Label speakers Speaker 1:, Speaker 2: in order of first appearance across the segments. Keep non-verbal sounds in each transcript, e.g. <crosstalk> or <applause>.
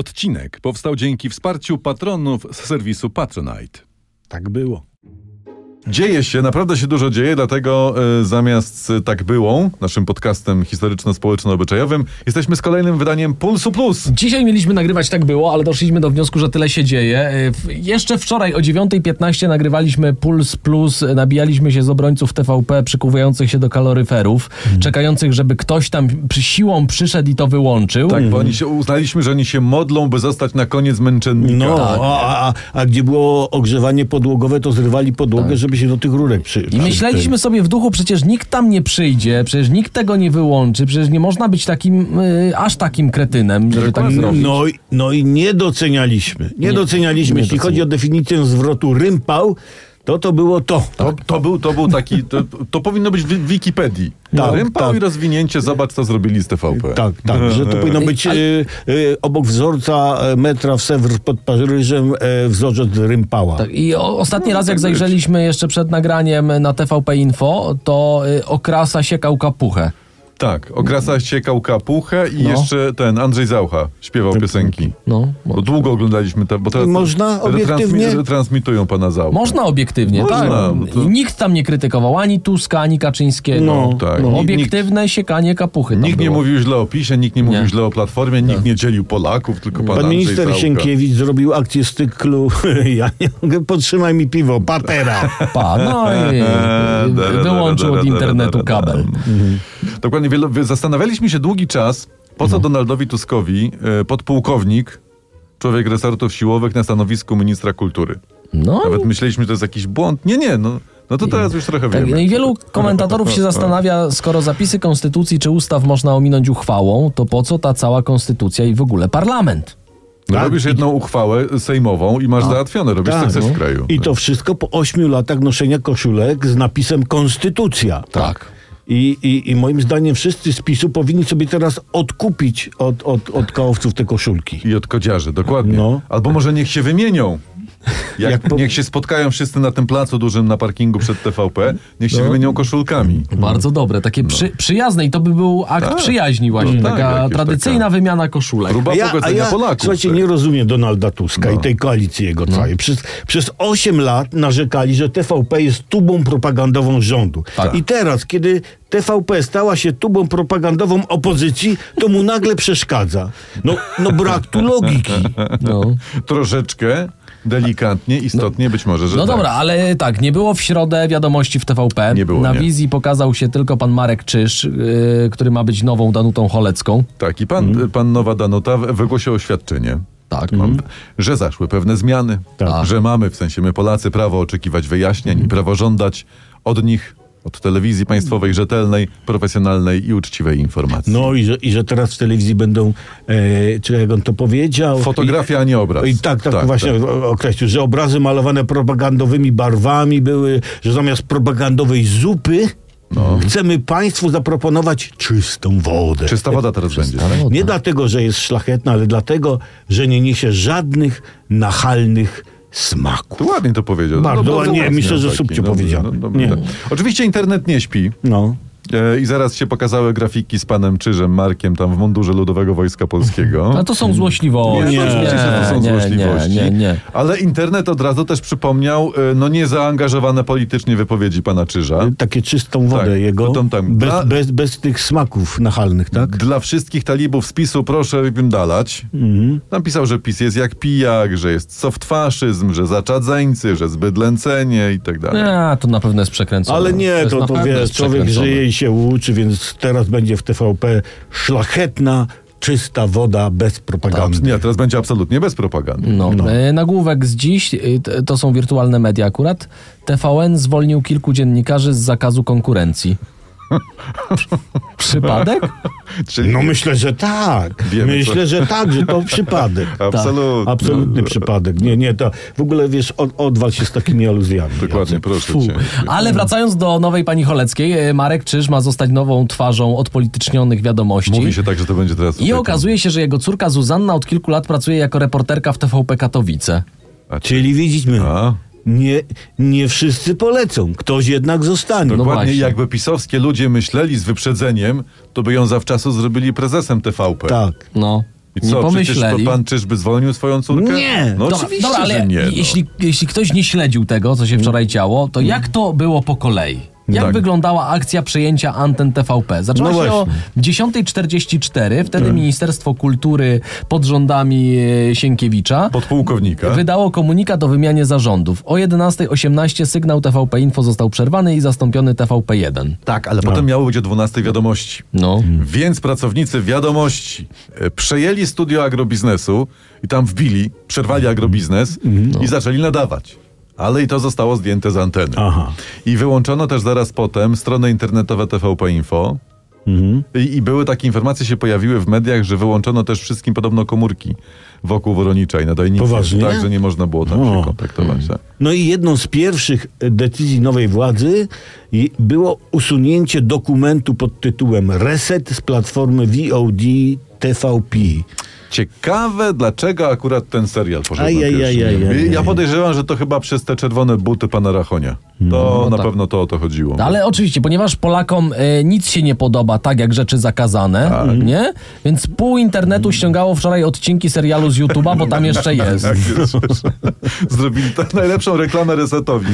Speaker 1: Odcinek powstał dzięki wsparciu patronów z serwisu Patronite.
Speaker 2: Tak było.
Speaker 1: Dzieje się, naprawdę się dużo dzieje, dlatego e, zamiast e, Tak Było, naszym podcastem historyczno-społeczno-obyczajowym, jesteśmy z kolejnym wydaniem Pulsu Plus.
Speaker 3: Dzisiaj mieliśmy nagrywać, tak było, ale doszliśmy do wniosku, że tyle się dzieje. Y, w- Jeszcze wczoraj o 9.15 nagrywaliśmy Puls Plus, y, nabijaliśmy się z obrońców TVP przykuwających się do kaloryferów,
Speaker 1: Mhm.
Speaker 3: czekających, żeby ktoś tam przy siłą przyszedł i to wyłączył.
Speaker 1: Tak, bo oni się, uznaliśmy, że oni się modlą, by zostać na koniec męczennika.
Speaker 2: No, a, a, a gdzie było ogrzewanie podłogowe, to zrywali podłogę, żeby się do tych rurek przy.
Speaker 3: I myśleliśmy sobie w duchu, przecież nikt tam nie przyjdzie, przecież nikt tego nie wyłączy, przecież nie można być takim, y, aż takim kretynem, żeby tak
Speaker 1: Dokładnie.
Speaker 3: zrobić.
Speaker 2: No, i- no i nie docenialiśmy. Nie, docenialiśmy. Jeśli chodzi o definicję zwrotu rympał, to to było to.
Speaker 1: To, to, był, to był taki, to, to powinno być w Wikipedii.
Speaker 2: Tak,
Speaker 1: Rympał
Speaker 2: tak.
Speaker 1: i rozwinięcie, zobacz co zrobili z TVP.
Speaker 2: Tak, tak, że to powinno być
Speaker 3: Ale-
Speaker 2: y, y, obok wzorca e, metra w Sewr pod Paryżem e, wzorzec rympała.
Speaker 3: Tak, I o, ostatni
Speaker 1: No,
Speaker 3: raz,
Speaker 1: tak
Speaker 3: jak
Speaker 1: być.
Speaker 3: zajrzeliśmy jeszcze przed nagraniem na TVP Info, to y, okrasa siekał kapuchę.
Speaker 1: Tak, okrasa siekał kapuchę i
Speaker 3: No.
Speaker 1: jeszcze ten Andrzej Zaucha śpiewał piosenki.
Speaker 3: No,
Speaker 1: Bo długo oglądaliśmy te, bo teraz
Speaker 2: Można obiektywnie?
Speaker 1: retransmitują pana Zaucha.
Speaker 3: Można obiektywnie,
Speaker 1: Można, no
Speaker 3: tak.
Speaker 1: to-
Speaker 3: I Nikt tam nie krytykował ani Tuska, ani Kaczyńskiego.
Speaker 2: No,
Speaker 1: tak. I
Speaker 3: Obiektywne siekanie kapuchy. tam
Speaker 1: Nikt nie
Speaker 3: było.
Speaker 1: mówił źle o PiSie, nikt nie mówił
Speaker 3: Nie.
Speaker 1: źle o Platformie, nikt nie dzielił Polaków, tylko pan,
Speaker 2: Pan
Speaker 1: Andrzej
Speaker 2: minister
Speaker 1: Zaucha.
Speaker 2: Sienkiewicz zrobił akcję z cyklu. <laughs> Ja nie mogę, podtrzymaj mi piwo, patera.
Speaker 3: Pa,
Speaker 1: <laughs>
Speaker 3: no i wyłączył od internetu kabel.
Speaker 1: Dokładnie, wielo, wy- zastanawialiśmy się długi czas, po co Donaldowi Tuskowi e, podpułkownik, człowiek resortów siłowych na stanowisku ministra kultury.
Speaker 3: No i
Speaker 1: Nawet myśleliśmy, że to jest jakiś błąd. Nie, nie, no, no to teraz już trochę
Speaker 3: Tak,
Speaker 1: wiemy.
Speaker 3: no i wielu
Speaker 1: <laughs>
Speaker 3: komentatorów się zastanawia, skoro zapisy konstytucji czy ustaw można ominąć uchwałą, to po co ta cała konstytucja i w ogóle parlament?
Speaker 1: No,
Speaker 2: Tak,
Speaker 1: robisz
Speaker 2: i-
Speaker 1: jedną uchwałę sejmową i masz załatwione, robisz
Speaker 2: Tak,
Speaker 1: sukces
Speaker 2: no.
Speaker 1: w kraju.
Speaker 2: I to wszystko po ośmiu latach noszenia koszulek z napisem Konstytucja.
Speaker 3: Tak.
Speaker 2: I, i, I moim zdaniem wszyscy z PiSu powinni sobie teraz odkupić od, od, od kałowców te koszulki.
Speaker 1: I od kodziarzy, dokładnie.
Speaker 2: No.
Speaker 1: Albo może niech się wymienią. Jak,
Speaker 2: Jak po-
Speaker 1: Niech się spotkają wszyscy na tym placu dużym na parkingu przed TVP, niech się wymienią koszulkami.
Speaker 3: No. Bardzo dobre, takie przy, przyjazne i to by był akt przyjaźni właśnie,
Speaker 1: No tak,
Speaker 3: taka
Speaker 1: jakieś
Speaker 3: tradycyjna
Speaker 1: taka-
Speaker 3: wymiana koszulek.
Speaker 1: Próba pogodzenia Polaków.
Speaker 2: słuchajcie,
Speaker 1: tak. No.
Speaker 2: nie rozumiem Donalda Tuska i tej koalicji jego całej. Przez, przez 8 lat narzekali, że TVP jest tubą propagandową rządu.
Speaker 3: Tak.
Speaker 2: I teraz, kiedy TVP stała się tubą propagandową opozycji, to mu nagle przeszkadza. No, no brak tu
Speaker 1: <laughs>
Speaker 2: logiki.
Speaker 3: No.
Speaker 1: Troszeczkę, delikatnie, istotnie być może, że
Speaker 3: No
Speaker 1: tak.
Speaker 3: dobra, ale tak, nie było w środę wiadomości w TVP.
Speaker 1: Nie było,
Speaker 3: Na
Speaker 1: nie.
Speaker 3: wizji pokazał się tylko pan Marek Czyż, yy, który ma być nową Danutą Cholecką.
Speaker 1: Tak, i pan,
Speaker 2: Mhm.
Speaker 1: pan Nowa Danuta w- wygłosił oświadczenie.
Speaker 3: Tak.
Speaker 1: Mam, Że zaszły pewne zmiany,
Speaker 2: Tak. Mhm.
Speaker 1: że mamy, w sensie my Polacy, prawo oczekiwać wyjaśnień i prawo żądać od nich, od telewizji państwowej, rzetelnej, profesjonalnej i uczciwej informacji.
Speaker 2: Mhm. No i że, i że teraz w telewizji będą, e, czy jak on to powiedział?
Speaker 1: Fotografia, a nie obraz.
Speaker 2: I, i tak, tak, właśnie o- określił, że obrazy malowane propagandowymi barwami były, że zamiast propagandowej zupy
Speaker 1: No.
Speaker 2: chcemy państwu zaproponować czystą wodę.
Speaker 1: Czysta woda teraz będzie. tak?
Speaker 3: woda.
Speaker 2: Nie dlatego, że jest szlachetna, ale dlatego, że nie niesie żadnych nachalnych
Speaker 1: To
Speaker 2: smaków.
Speaker 1: ładnie to powiedział.
Speaker 2: Bardzo ładnie.
Speaker 1: ładnie,
Speaker 2: Myślę, że
Speaker 1: taki,
Speaker 2: subcio
Speaker 1: no,
Speaker 2: powiedziane.
Speaker 1: no, no,
Speaker 2: Nie.
Speaker 1: tak. Oczywiście internet nie śpi.
Speaker 2: No.
Speaker 1: E, I zaraz się pokazały grafiki z panem Czyżem Markiem tam w mundurze Ludowego Wojska Polskiego.
Speaker 3: A to są złośliwości.
Speaker 1: Nie,
Speaker 2: nie,
Speaker 1: oczywiście, że to są złośliwości.
Speaker 3: Nie, nie, nie.
Speaker 1: Ale internet od razu też przypomniał e, no niezaangażowane politycznie wypowiedzi pana Czyża.
Speaker 3: Y,
Speaker 2: Takie czystą wodę
Speaker 1: Tak,
Speaker 2: jego,
Speaker 1: to tam- tam-
Speaker 2: bez,
Speaker 1: dla-
Speaker 2: bez, bez tych smaków nachalnych, tak?
Speaker 1: Dla wszystkich talibów z PiSu proszę wypiądalać.
Speaker 3: Mhm.
Speaker 1: Tam pisał, że PiS jest jak pijak, że jest softfaszyzm, że zaczadzeńcy, że zbydlęcenie i tak dalej.
Speaker 3: Nie, to na pewno jest przekręcone.
Speaker 2: Ale nie,
Speaker 3: jest
Speaker 2: to,
Speaker 3: na
Speaker 2: to,
Speaker 3: pewno
Speaker 2: wiesz,
Speaker 3: jest
Speaker 2: człowiek
Speaker 3: przekręcone.
Speaker 2: żyje i się uczy, więc teraz będzie w TVP szlachetna, czysta woda bez propagandy.
Speaker 1: Nie, teraz będzie absolutnie bez propagandy.
Speaker 3: No. E, Nagłówek z dziś, e, t- to są wirtualne media akurat. TVN zwolnił kilku dziennikarzy z zakazu
Speaker 1: <laughs>
Speaker 3: konkurencji. Przypadek?
Speaker 1: Czyli
Speaker 2: No myślę, że tak.
Speaker 1: Wiemy,
Speaker 2: myślę,
Speaker 1: co-
Speaker 2: że tak, że to przypadek.
Speaker 1: <laughs>
Speaker 2: Tak,
Speaker 1: absolutnie.
Speaker 2: Absolutny przypadek. Nie, nie, to w ogóle wiesz, od, odwal się z takimi aluzjami.
Speaker 1: Dokładnie, proszę
Speaker 3: Fu.
Speaker 1: cię. Mm.
Speaker 3: Ale wracając do nowej pani Choleckiej, e, Marek Czyż ma zostać nową twarzą odpolitycznionych wiadomości.
Speaker 1: Mówi się tak, że to będzie teraz...
Speaker 3: I
Speaker 1: tutaj-
Speaker 3: okazuje się, że jego córka Zuzanna od kilku lat pracuje jako reporterka w TVP Katowice.
Speaker 2: Czyli widzimy,
Speaker 1: A?
Speaker 2: nie, nie wszyscy polecą. Ktoś jednak zostanie.
Speaker 3: No
Speaker 1: Dokładnie
Speaker 3: właśnie.
Speaker 1: jakby pisowskie ludzie myśleli z wyprzedzeniem, to by ją zawczasu zrobili prezesem TVP.
Speaker 2: tak.
Speaker 3: No.
Speaker 1: I I
Speaker 3: Nie
Speaker 1: co,
Speaker 3: pomyśleli.
Speaker 1: przecież pan czyżby zwolnił swoją córkę?
Speaker 2: Nie.
Speaker 1: No
Speaker 3: Dobra,
Speaker 1: oczywiście,
Speaker 3: dobra, ale
Speaker 1: że nie. No. Mm.
Speaker 3: jeśli, jeśli ktoś nie śledził tego, co się wczoraj działo, to jak to było po kolei? Jak
Speaker 1: Tak.
Speaker 3: wyglądała akcja przejęcia anten TVP? Zaczęła
Speaker 2: No
Speaker 3: się o
Speaker 2: właśnie.
Speaker 3: 10.44, wtedy
Speaker 1: Tak.
Speaker 3: Ministerstwo Kultury pod rządami e, Sienkiewicza
Speaker 1: Podpułkownika.
Speaker 3: wydało komunikat o wymianie zarządów. O 11.18 sygnał TVP Info został przerwany i zastąpiony TVP1.
Speaker 1: Tak, ale potem miało być o 12 wiadomości.
Speaker 3: No.
Speaker 1: Więc pracownicy wiadomości e, przejęli studio agrobiznesu i tam wbili, przerwali agrobiznes
Speaker 3: Mhm.
Speaker 1: i zaczęli nadawać. Ale i to zostało zdjęte z anteny.
Speaker 2: Aha.
Speaker 1: I wyłączono też zaraz potem stronę internetową TVP Info.
Speaker 2: Tak. Mhm.
Speaker 1: I, I były takie informacje, się pojawiły w mediach, że wyłączono też wszystkim podobno komórki wokół Woronicza i nadajnicy.
Speaker 2: Poważnie?
Speaker 1: Tak, że nie można było tam
Speaker 2: O.
Speaker 1: się kontaktować. Tak.
Speaker 2: No i jedną z pierwszych e, decyzji nowej władzy i- było usunięcie dokumentu pod tytułem Reset z platformy VOD TVP.
Speaker 1: Ciekawe, dlaczego akurat ten serial poszedł na
Speaker 2: Ajajajaj,
Speaker 1: pierwszy.
Speaker 2: ajajaj.
Speaker 1: Ja podejrzewam, że to chyba przez te czerwone buty pana Rachonia. To
Speaker 2: No.
Speaker 1: na
Speaker 3: tak.
Speaker 1: pewno to o to chodziło.
Speaker 3: No ale oczywiście, ponieważ Polakom e, nic się nie podoba, tak jak rzeczy zakazane,
Speaker 1: Tak.
Speaker 3: Mhm. nie? Więc pół internetu ściągało wczoraj odcinki serialu z YouTube'a, bo tam
Speaker 1: <laughs>
Speaker 3: jeszcze jest.
Speaker 1: Tak, jest. Zrobili tak najlepszą reklamę resetowi.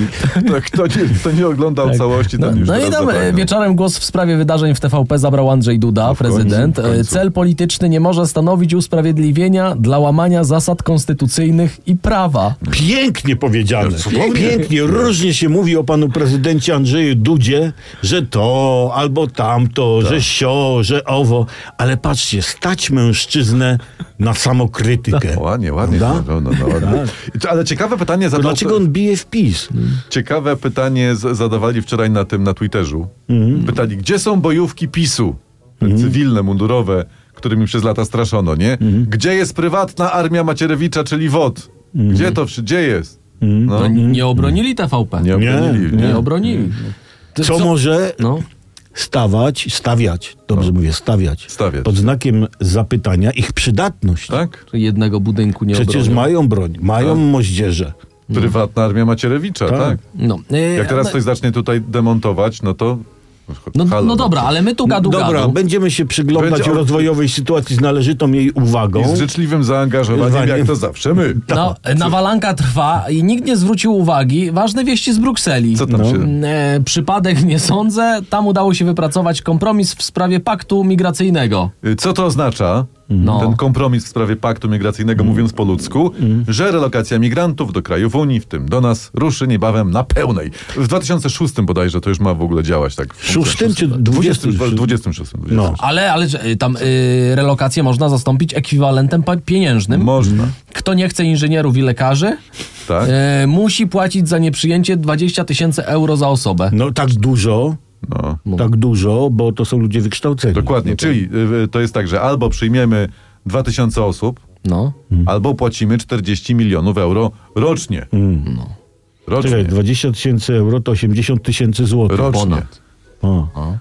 Speaker 1: Tak, kto, nie, kto nie oglądał
Speaker 2: Tak.
Speaker 1: całości,
Speaker 3: No,
Speaker 1: ten już
Speaker 3: no i
Speaker 1: teraz
Speaker 3: tam e,
Speaker 1: zapomniał.
Speaker 3: wieczorem głos w sprawie wydarzeń w TVP zabrał Andrzej Duda,
Speaker 1: końcu,
Speaker 3: prezydent.
Speaker 1: w końcu.
Speaker 3: E, Cel polityczny nie może stanowić usprawiedliwienia dla łamania zasad konstytucyjnych i prawa.
Speaker 2: Pięknie powiedziane.
Speaker 1: Cudownie.
Speaker 2: Pięknie. Różnie się mówi o panu prezydencie Andrzeju Dudzie, że to, albo tamto, że sio, że owo. Ale patrzcie, stać mężczyznę na samokrytykę.
Speaker 1: Ładnie, ładnie.
Speaker 2: Prawda? Tak.
Speaker 1: No, no, no, ładnie. I czy- Ale ciekawe pytanie
Speaker 2: To
Speaker 1: zadał,
Speaker 2: dlaczego on bije w PiS?
Speaker 1: ciekawe pytanie z, zadawali wczoraj na tym na Twitterzu. Pytali, gdzie są bojówki PiSu? Te Cywilne, mundurowe, którymi przez lata straszono, nie? Gdzie jest prywatna armia Macierewicza, czyli WOT? Gdzie to wszy- gdzie jest? No,
Speaker 3: No, nie obronili TVP.
Speaker 1: nie
Speaker 3: Nie,
Speaker 1: obronili.
Speaker 2: nie.
Speaker 3: obronili. To
Speaker 2: Co może
Speaker 3: No.
Speaker 2: stawać, stawiać, dobrze mówię, stawiać,
Speaker 1: No. Stawiać.
Speaker 2: pod znakiem zapytania ich przydatność.
Speaker 1: Tak? no.
Speaker 3: Czy jednego budynku nie
Speaker 2: Przecież
Speaker 3: obronią.
Speaker 2: mają broń, mają moździerze.
Speaker 1: Prywatna armia Macierewicza, tak.
Speaker 2: Tak.
Speaker 3: No. e,
Speaker 1: Jak teraz
Speaker 3: no-
Speaker 1: ktoś zacznie tutaj demontować, no to...
Speaker 3: no,
Speaker 1: Halo.
Speaker 3: no dobra, ale my tu gadu
Speaker 2: Dobra,
Speaker 3: gadu.
Speaker 2: będziemy się przyglądać
Speaker 1: Będzie-
Speaker 2: rozwojowej sytuacji z należytą jej uwagą.
Speaker 1: I z życzliwym zaangażowaniem, jak to zawsze my.
Speaker 3: No, nawalanka trwa i nikt nie zwrócił uwagi. Ważne wieści z Brukseli.
Speaker 1: Co tam się...
Speaker 3: E, przypadek nie sądzę. Tam udało się wypracować kompromis w sprawie paktu migracyjnego.
Speaker 1: Y, Co to oznacza?
Speaker 2: Mhm.
Speaker 3: No.
Speaker 1: Ten kompromis w sprawie paktu migracyjnego, mówiąc po ludzku,
Speaker 2: Mhm.
Speaker 1: że relokacja migrantów do krajów Unii, w tym do nas, ruszy niebawem na pełnej. W 2006 bodajże to już ma w ogóle działać tak.
Speaker 2: Szóstym czy
Speaker 1: 20,
Speaker 2: 26?
Speaker 1: 26.
Speaker 2: No.
Speaker 3: Ale, ale że, y, tam y, relokację można zastąpić ekwiwalentem pa- pieniężnym.
Speaker 1: Można,
Speaker 3: Kto nie chce inżynierów i lekarzy,
Speaker 1: tak?
Speaker 3: y, musi płacić za nieprzyjęcie 20 tysięcy euro za osobę.
Speaker 2: No tak dużo,
Speaker 1: No.
Speaker 2: tak dużo, bo to są ludzie wykształceni.
Speaker 1: Dokładnie. Czyli y, to jest tak, że albo przyjmiemy 2000 osób,
Speaker 3: No.
Speaker 2: Mhm.
Speaker 1: albo płacimy 40 milionów euro rocznie.
Speaker 3: No.
Speaker 1: Rocznie.
Speaker 2: Mhm. Czekaj, 20 tysięcy euro to 80 tysięcy złotych.
Speaker 1: rocznie. No.
Speaker 3: ponad.
Speaker 2: O.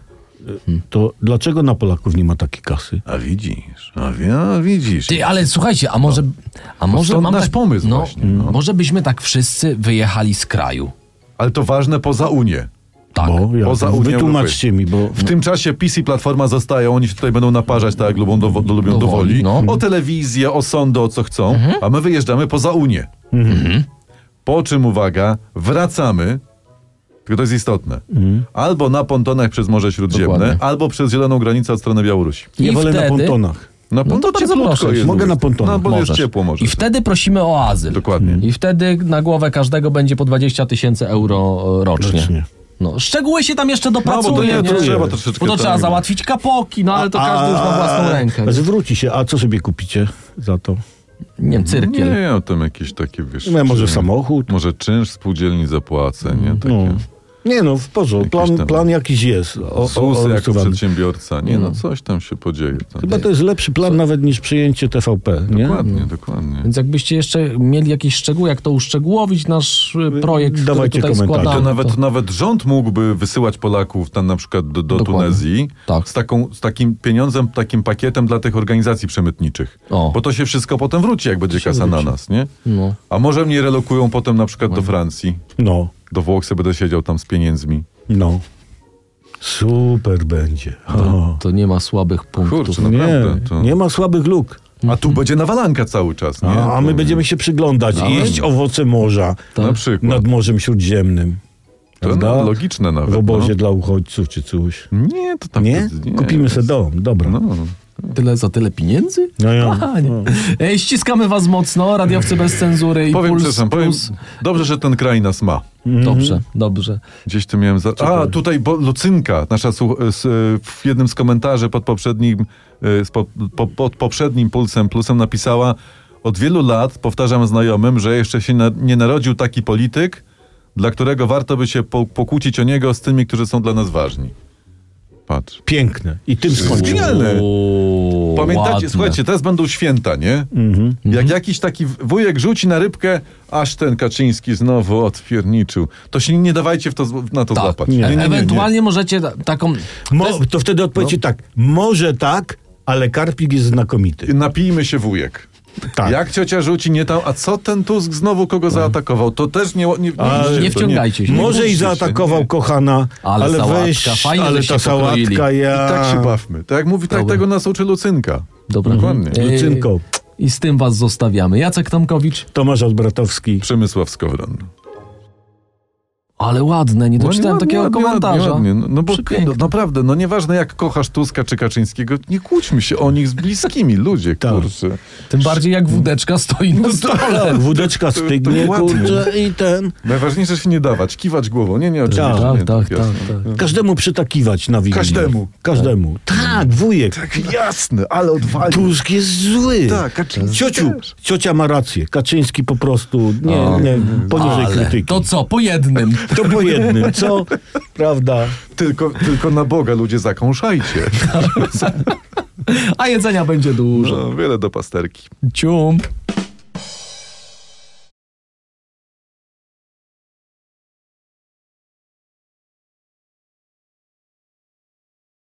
Speaker 2: Y, To dlaczego na Polaków nie ma takiej kasy?
Speaker 1: A widzisz, a, wi- a widzisz.
Speaker 3: Ty, ale słuchajcie, a może. A może
Speaker 1: No,
Speaker 3: tak-
Speaker 1: stąd nasz pomysł właśnie, no.
Speaker 3: Może byśmy tak wszyscy wyjechali z kraju.
Speaker 1: Ale to ważne poza Unię.
Speaker 3: Tak.
Speaker 1: No,
Speaker 2: Bo ja,
Speaker 1: Poza Unią
Speaker 2: wytłumaczcie mi, bo
Speaker 1: W tym czasie PiS i Platforma zostają, oni się tutaj będą naparzać tak jak lubią, dowo- lubią dowoli,
Speaker 3: Dowoli, no.
Speaker 1: o telewizję, o sądy, o co chcą,
Speaker 2: Mhm.
Speaker 1: a my wyjeżdżamy poza Unię. Po czym, uwaga, wracamy, tylko to jest istotne,
Speaker 2: Mhm.
Speaker 1: albo na pontonach przez Morze Śródziemne,
Speaker 3: Dokładnie.
Speaker 2: albo przez zieloną granicę od strony Białorusi.
Speaker 3: I
Speaker 2: ja wolę
Speaker 3: wtedy,
Speaker 2: na pontonach.
Speaker 1: Na
Speaker 3: to
Speaker 1: pontonach
Speaker 3: bardzo
Speaker 1: cieplutko
Speaker 3: proszę.
Speaker 1: jest.
Speaker 2: Mogę na pontonach.
Speaker 1: No, bo
Speaker 3: Możesz.
Speaker 1: jest ciepło może.
Speaker 3: I wtedy prosimy o azyl.
Speaker 1: Dokładnie.
Speaker 3: I wtedy na głowę każdego będzie po 20 tysięcy euro e, rocznie.
Speaker 2: Rocznie.
Speaker 3: No, szczegóły się tam jeszcze
Speaker 1: No, bo
Speaker 3: dopracuje.
Speaker 1: to nie, to
Speaker 3: nie?
Speaker 1: trzeba troszeczkę...
Speaker 3: Bo to trzeba
Speaker 1: tak.
Speaker 3: załatwić kapoki, no ale to każdy już ma własną rękę.
Speaker 2: Zwróci się, a co sobie kupicie za to?
Speaker 3: Nie wiem, cyrkiel.
Speaker 1: Nie, o tym jakieś takie, wiesz...
Speaker 2: No, może
Speaker 1: czynsz.
Speaker 2: samochód?
Speaker 1: Może czynsz spółdzielni zapłacę, nie? Takie...
Speaker 2: No. Nie no, w porządku,
Speaker 1: tam-
Speaker 2: plan, plan jakiś jest. O, o,
Speaker 1: ZUS
Speaker 2: o,
Speaker 1: jako
Speaker 2: rysowany.
Speaker 1: przedsiębiorca. Nie no, coś tam się podzieje. Tam.
Speaker 2: Chyba to jest lepszy plan nawet niż przyjęcie TVP, nie?
Speaker 1: Dokładnie, dokładnie.
Speaker 3: Więc jakbyście jeszcze mieli jakieś szczegóły, jak to uszczegółowić nasz e, projekt,
Speaker 2: Dawajcie
Speaker 3: który tutaj
Speaker 2: komentarze.
Speaker 1: To
Speaker 3: składamy.
Speaker 1: nawet, nawet rząd mógłby wysyłać Polaków tam na przykład do, do
Speaker 3: Dokładnie.
Speaker 1: Tunezji
Speaker 3: Tak.
Speaker 1: z, taką, z takim pieniądzem, takim pakietem dla tych organizacji przemytniczych.
Speaker 3: O.
Speaker 1: Bo to się wszystko potem wróci, jak będzie kasa na nas, nie?
Speaker 3: No.
Speaker 1: A może mnie relokują potem na przykład do Francji,
Speaker 2: No,
Speaker 1: do Włoch, sobie będę siedział tam z pieniędzmi.
Speaker 2: no. Super będzie. O.
Speaker 3: To nie ma słabych punktów.
Speaker 1: Kurczę,
Speaker 2: Nie,
Speaker 1: naprawdę. No. To...
Speaker 2: nie ma słabych luk.
Speaker 1: A tu będzie nawalanka cały czas, nie?
Speaker 2: A, a my
Speaker 1: To-
Speaker 2: będziemy się przyglądać, i jeść owoce morza
Speaker 1: Na przykład.
Speaker 2: nad Morzem Śródziemnym.
Speaker 1: To
Speaker 2: prawda?
Speaker 1: no, logiczne nawet.
Speaker 2: W obozie dla uchodźców czy coś.
Speaker 1: No. Nie, to tam...
Speaker 2: Nie?
Speaker 1: nie
Speaker 2: Kupimy sobie dom, dobra.
Speaker 1: No.
Speaker 3: Tyle za tyle pieniędzy?
Speaker 2: No ja-
Speaker 3: Kochanie. Ej, Ściskamy was mocno, radiowcy bez cenzury i
Speaker 1: Powiem,
Speaker 3: puls,
Speaker 1: przepraszam, powiem,
Speaker 3: puls.
Speaker 1: dobrze, że ten kraj nas ma.
Speaker 2: Mhm.
Speaker 3: Dobrze, dobrze.
Speaker 1: Gdzieś tu miałem. Za... A, tutaj bo Lucynka, nasza słuch- z, y, w jednym z komentarzy pod poprzednim, y, z po, po, pod poprzednim pulsem plusem napisała: Od wielu lat powtarzam znajomym, że jeszcze się na, nie narodził taki polityk, dla którego warto by się po, pokłócić o niego z tymi, którzy są dla nas ważni. Patrz.
Speaker 2: Piękne. I tym skończył.
Speaker 1: Genialne.
Speaker 3: Uuu,
Speaker 1: E, Pamiętacie,
Speaker 3: ładne. Mhm.
Speaker 1: słuchajcie, teraz będą święta, nie? Jak jakiś taki wujek rzuci na rybkę, aż ten Kaczyński znowu odpierniczył. To się nie dawajcie w to, z- na to
Speaker 3: Tak.
Speaker 1: złapać.
Speaker 3: E- Ewentualnie możecie ta- taką...
Speaker 2: Mo, to wtedy odpowiecie tak. Może tak, ale Karpik jest znakomity.
Speaker 1: Napijmy się wujek.
Speaker 2: Tak.
Speaker 1: No, Jak ciocia rzuci nie tam, a co ten Tusk znowu kogo zaatakował? To też nie... Nie, nie,
Speaker 2: Ale-
Speaker 1: to
Speaker 3: Nie wciągajcie się.
Speaker 2: Może i
Speaker 1: mówcie się,
Speaker 2: zaatakował
Speaker 1: nie.
Speaker 2: kochana,
Speaker 3: Ale
Speaker 2: ale,
Speaker 3: sałatka.
Speaker 2: weź,
Speaker 3: Fajnie,
Speaker 2: ale
Speaker 3: że
Speaker 2: ta
Speaker 3: się pokroili.
Speaker 2: sałatka ja...
Speaker 1: I tak się bawmy. Tak jak mówi, tak
Speaker 3: Dobra.
Speaker 1: tego nas uczy Lucynka.
Speaker 3: Dobra.
Speaker 1: Dokładnie.
Speaker 3: Ej,
Speaker 2: Lucynko.
Speaker 3: I z tym was zostawiamy. Jacek Tomkowicz,
Speaker 2: Tomasz Odbratowski.
Speaker 1: Przemysław Skowron.
Speaker 3: ale ładne, nie
Speaker 1: No
Speaker 3: doczytałem
Speaker 1: ładnie,
Speaker 3: takiego
Speaker 1: ładnie,
Speaker 3: komentarza.
Speaker 1: ładnie, ładnie. No, no bo
Speaker 3: Przepiękne.
Speaker 1: no, naprawdę, no nieważne jak kochasz Tuska czy Kaczyńskiego, nie kłóćmy się o nich z bliskimi, <laughs> ludzie,
Speaker 2: Tak.
Speaker 1: kurczę.
Speaker 3: Tym bardziej jak wódeczka stoi
Speaker 1: No
Speaker 3: na stole.
Speaker 1: <laughs>
Speaker 2: Tak, <laughs> wódeczka stygnie,
Speaker 1: to ładnie.
Speaker 2: kurczę, i ten...
Speaker 1: Najważniejsze się nie dawać, kiwać głową. Nie, nie, oczywiście.
Speaker 2: Tak,
Speaker 1: nie,
Speaker 3: Tak, tak, tak.
Speaker 1: jasne.
Speaker 3: tak.
Speaker 2: Każdemu przytakiwać na Wigilię.
Speaker 1: Każdemu.
Speaker 2: Każdemu. Tak, wujek.
Speaker 1: Tak, jasne, ale odwalił.
Speaker 2: Tusk jest zły.
Speaker 1: Tak, Kaczyński
Speaker 2: Ciociu,
Speaker 1: też.
Speaker 2: ciocia ma rację. Kaczyński po prostu,
Speaker 3: O.
Speaker 2: nie, nie, poniżej
Speaker 3: No. Ale
Speaker 2: krytyki.
Speaker 3: to co, po jednym.
Speaker 2: To po jednym, co? Prawda.
Speaker 1: Tylko, tylko na Boga ludzie zakąszajcie.
Speaker 3: A jedzenia będzie dużo.
Speaker 1: No, wiele do pasterki.
Speaker 3: Cium.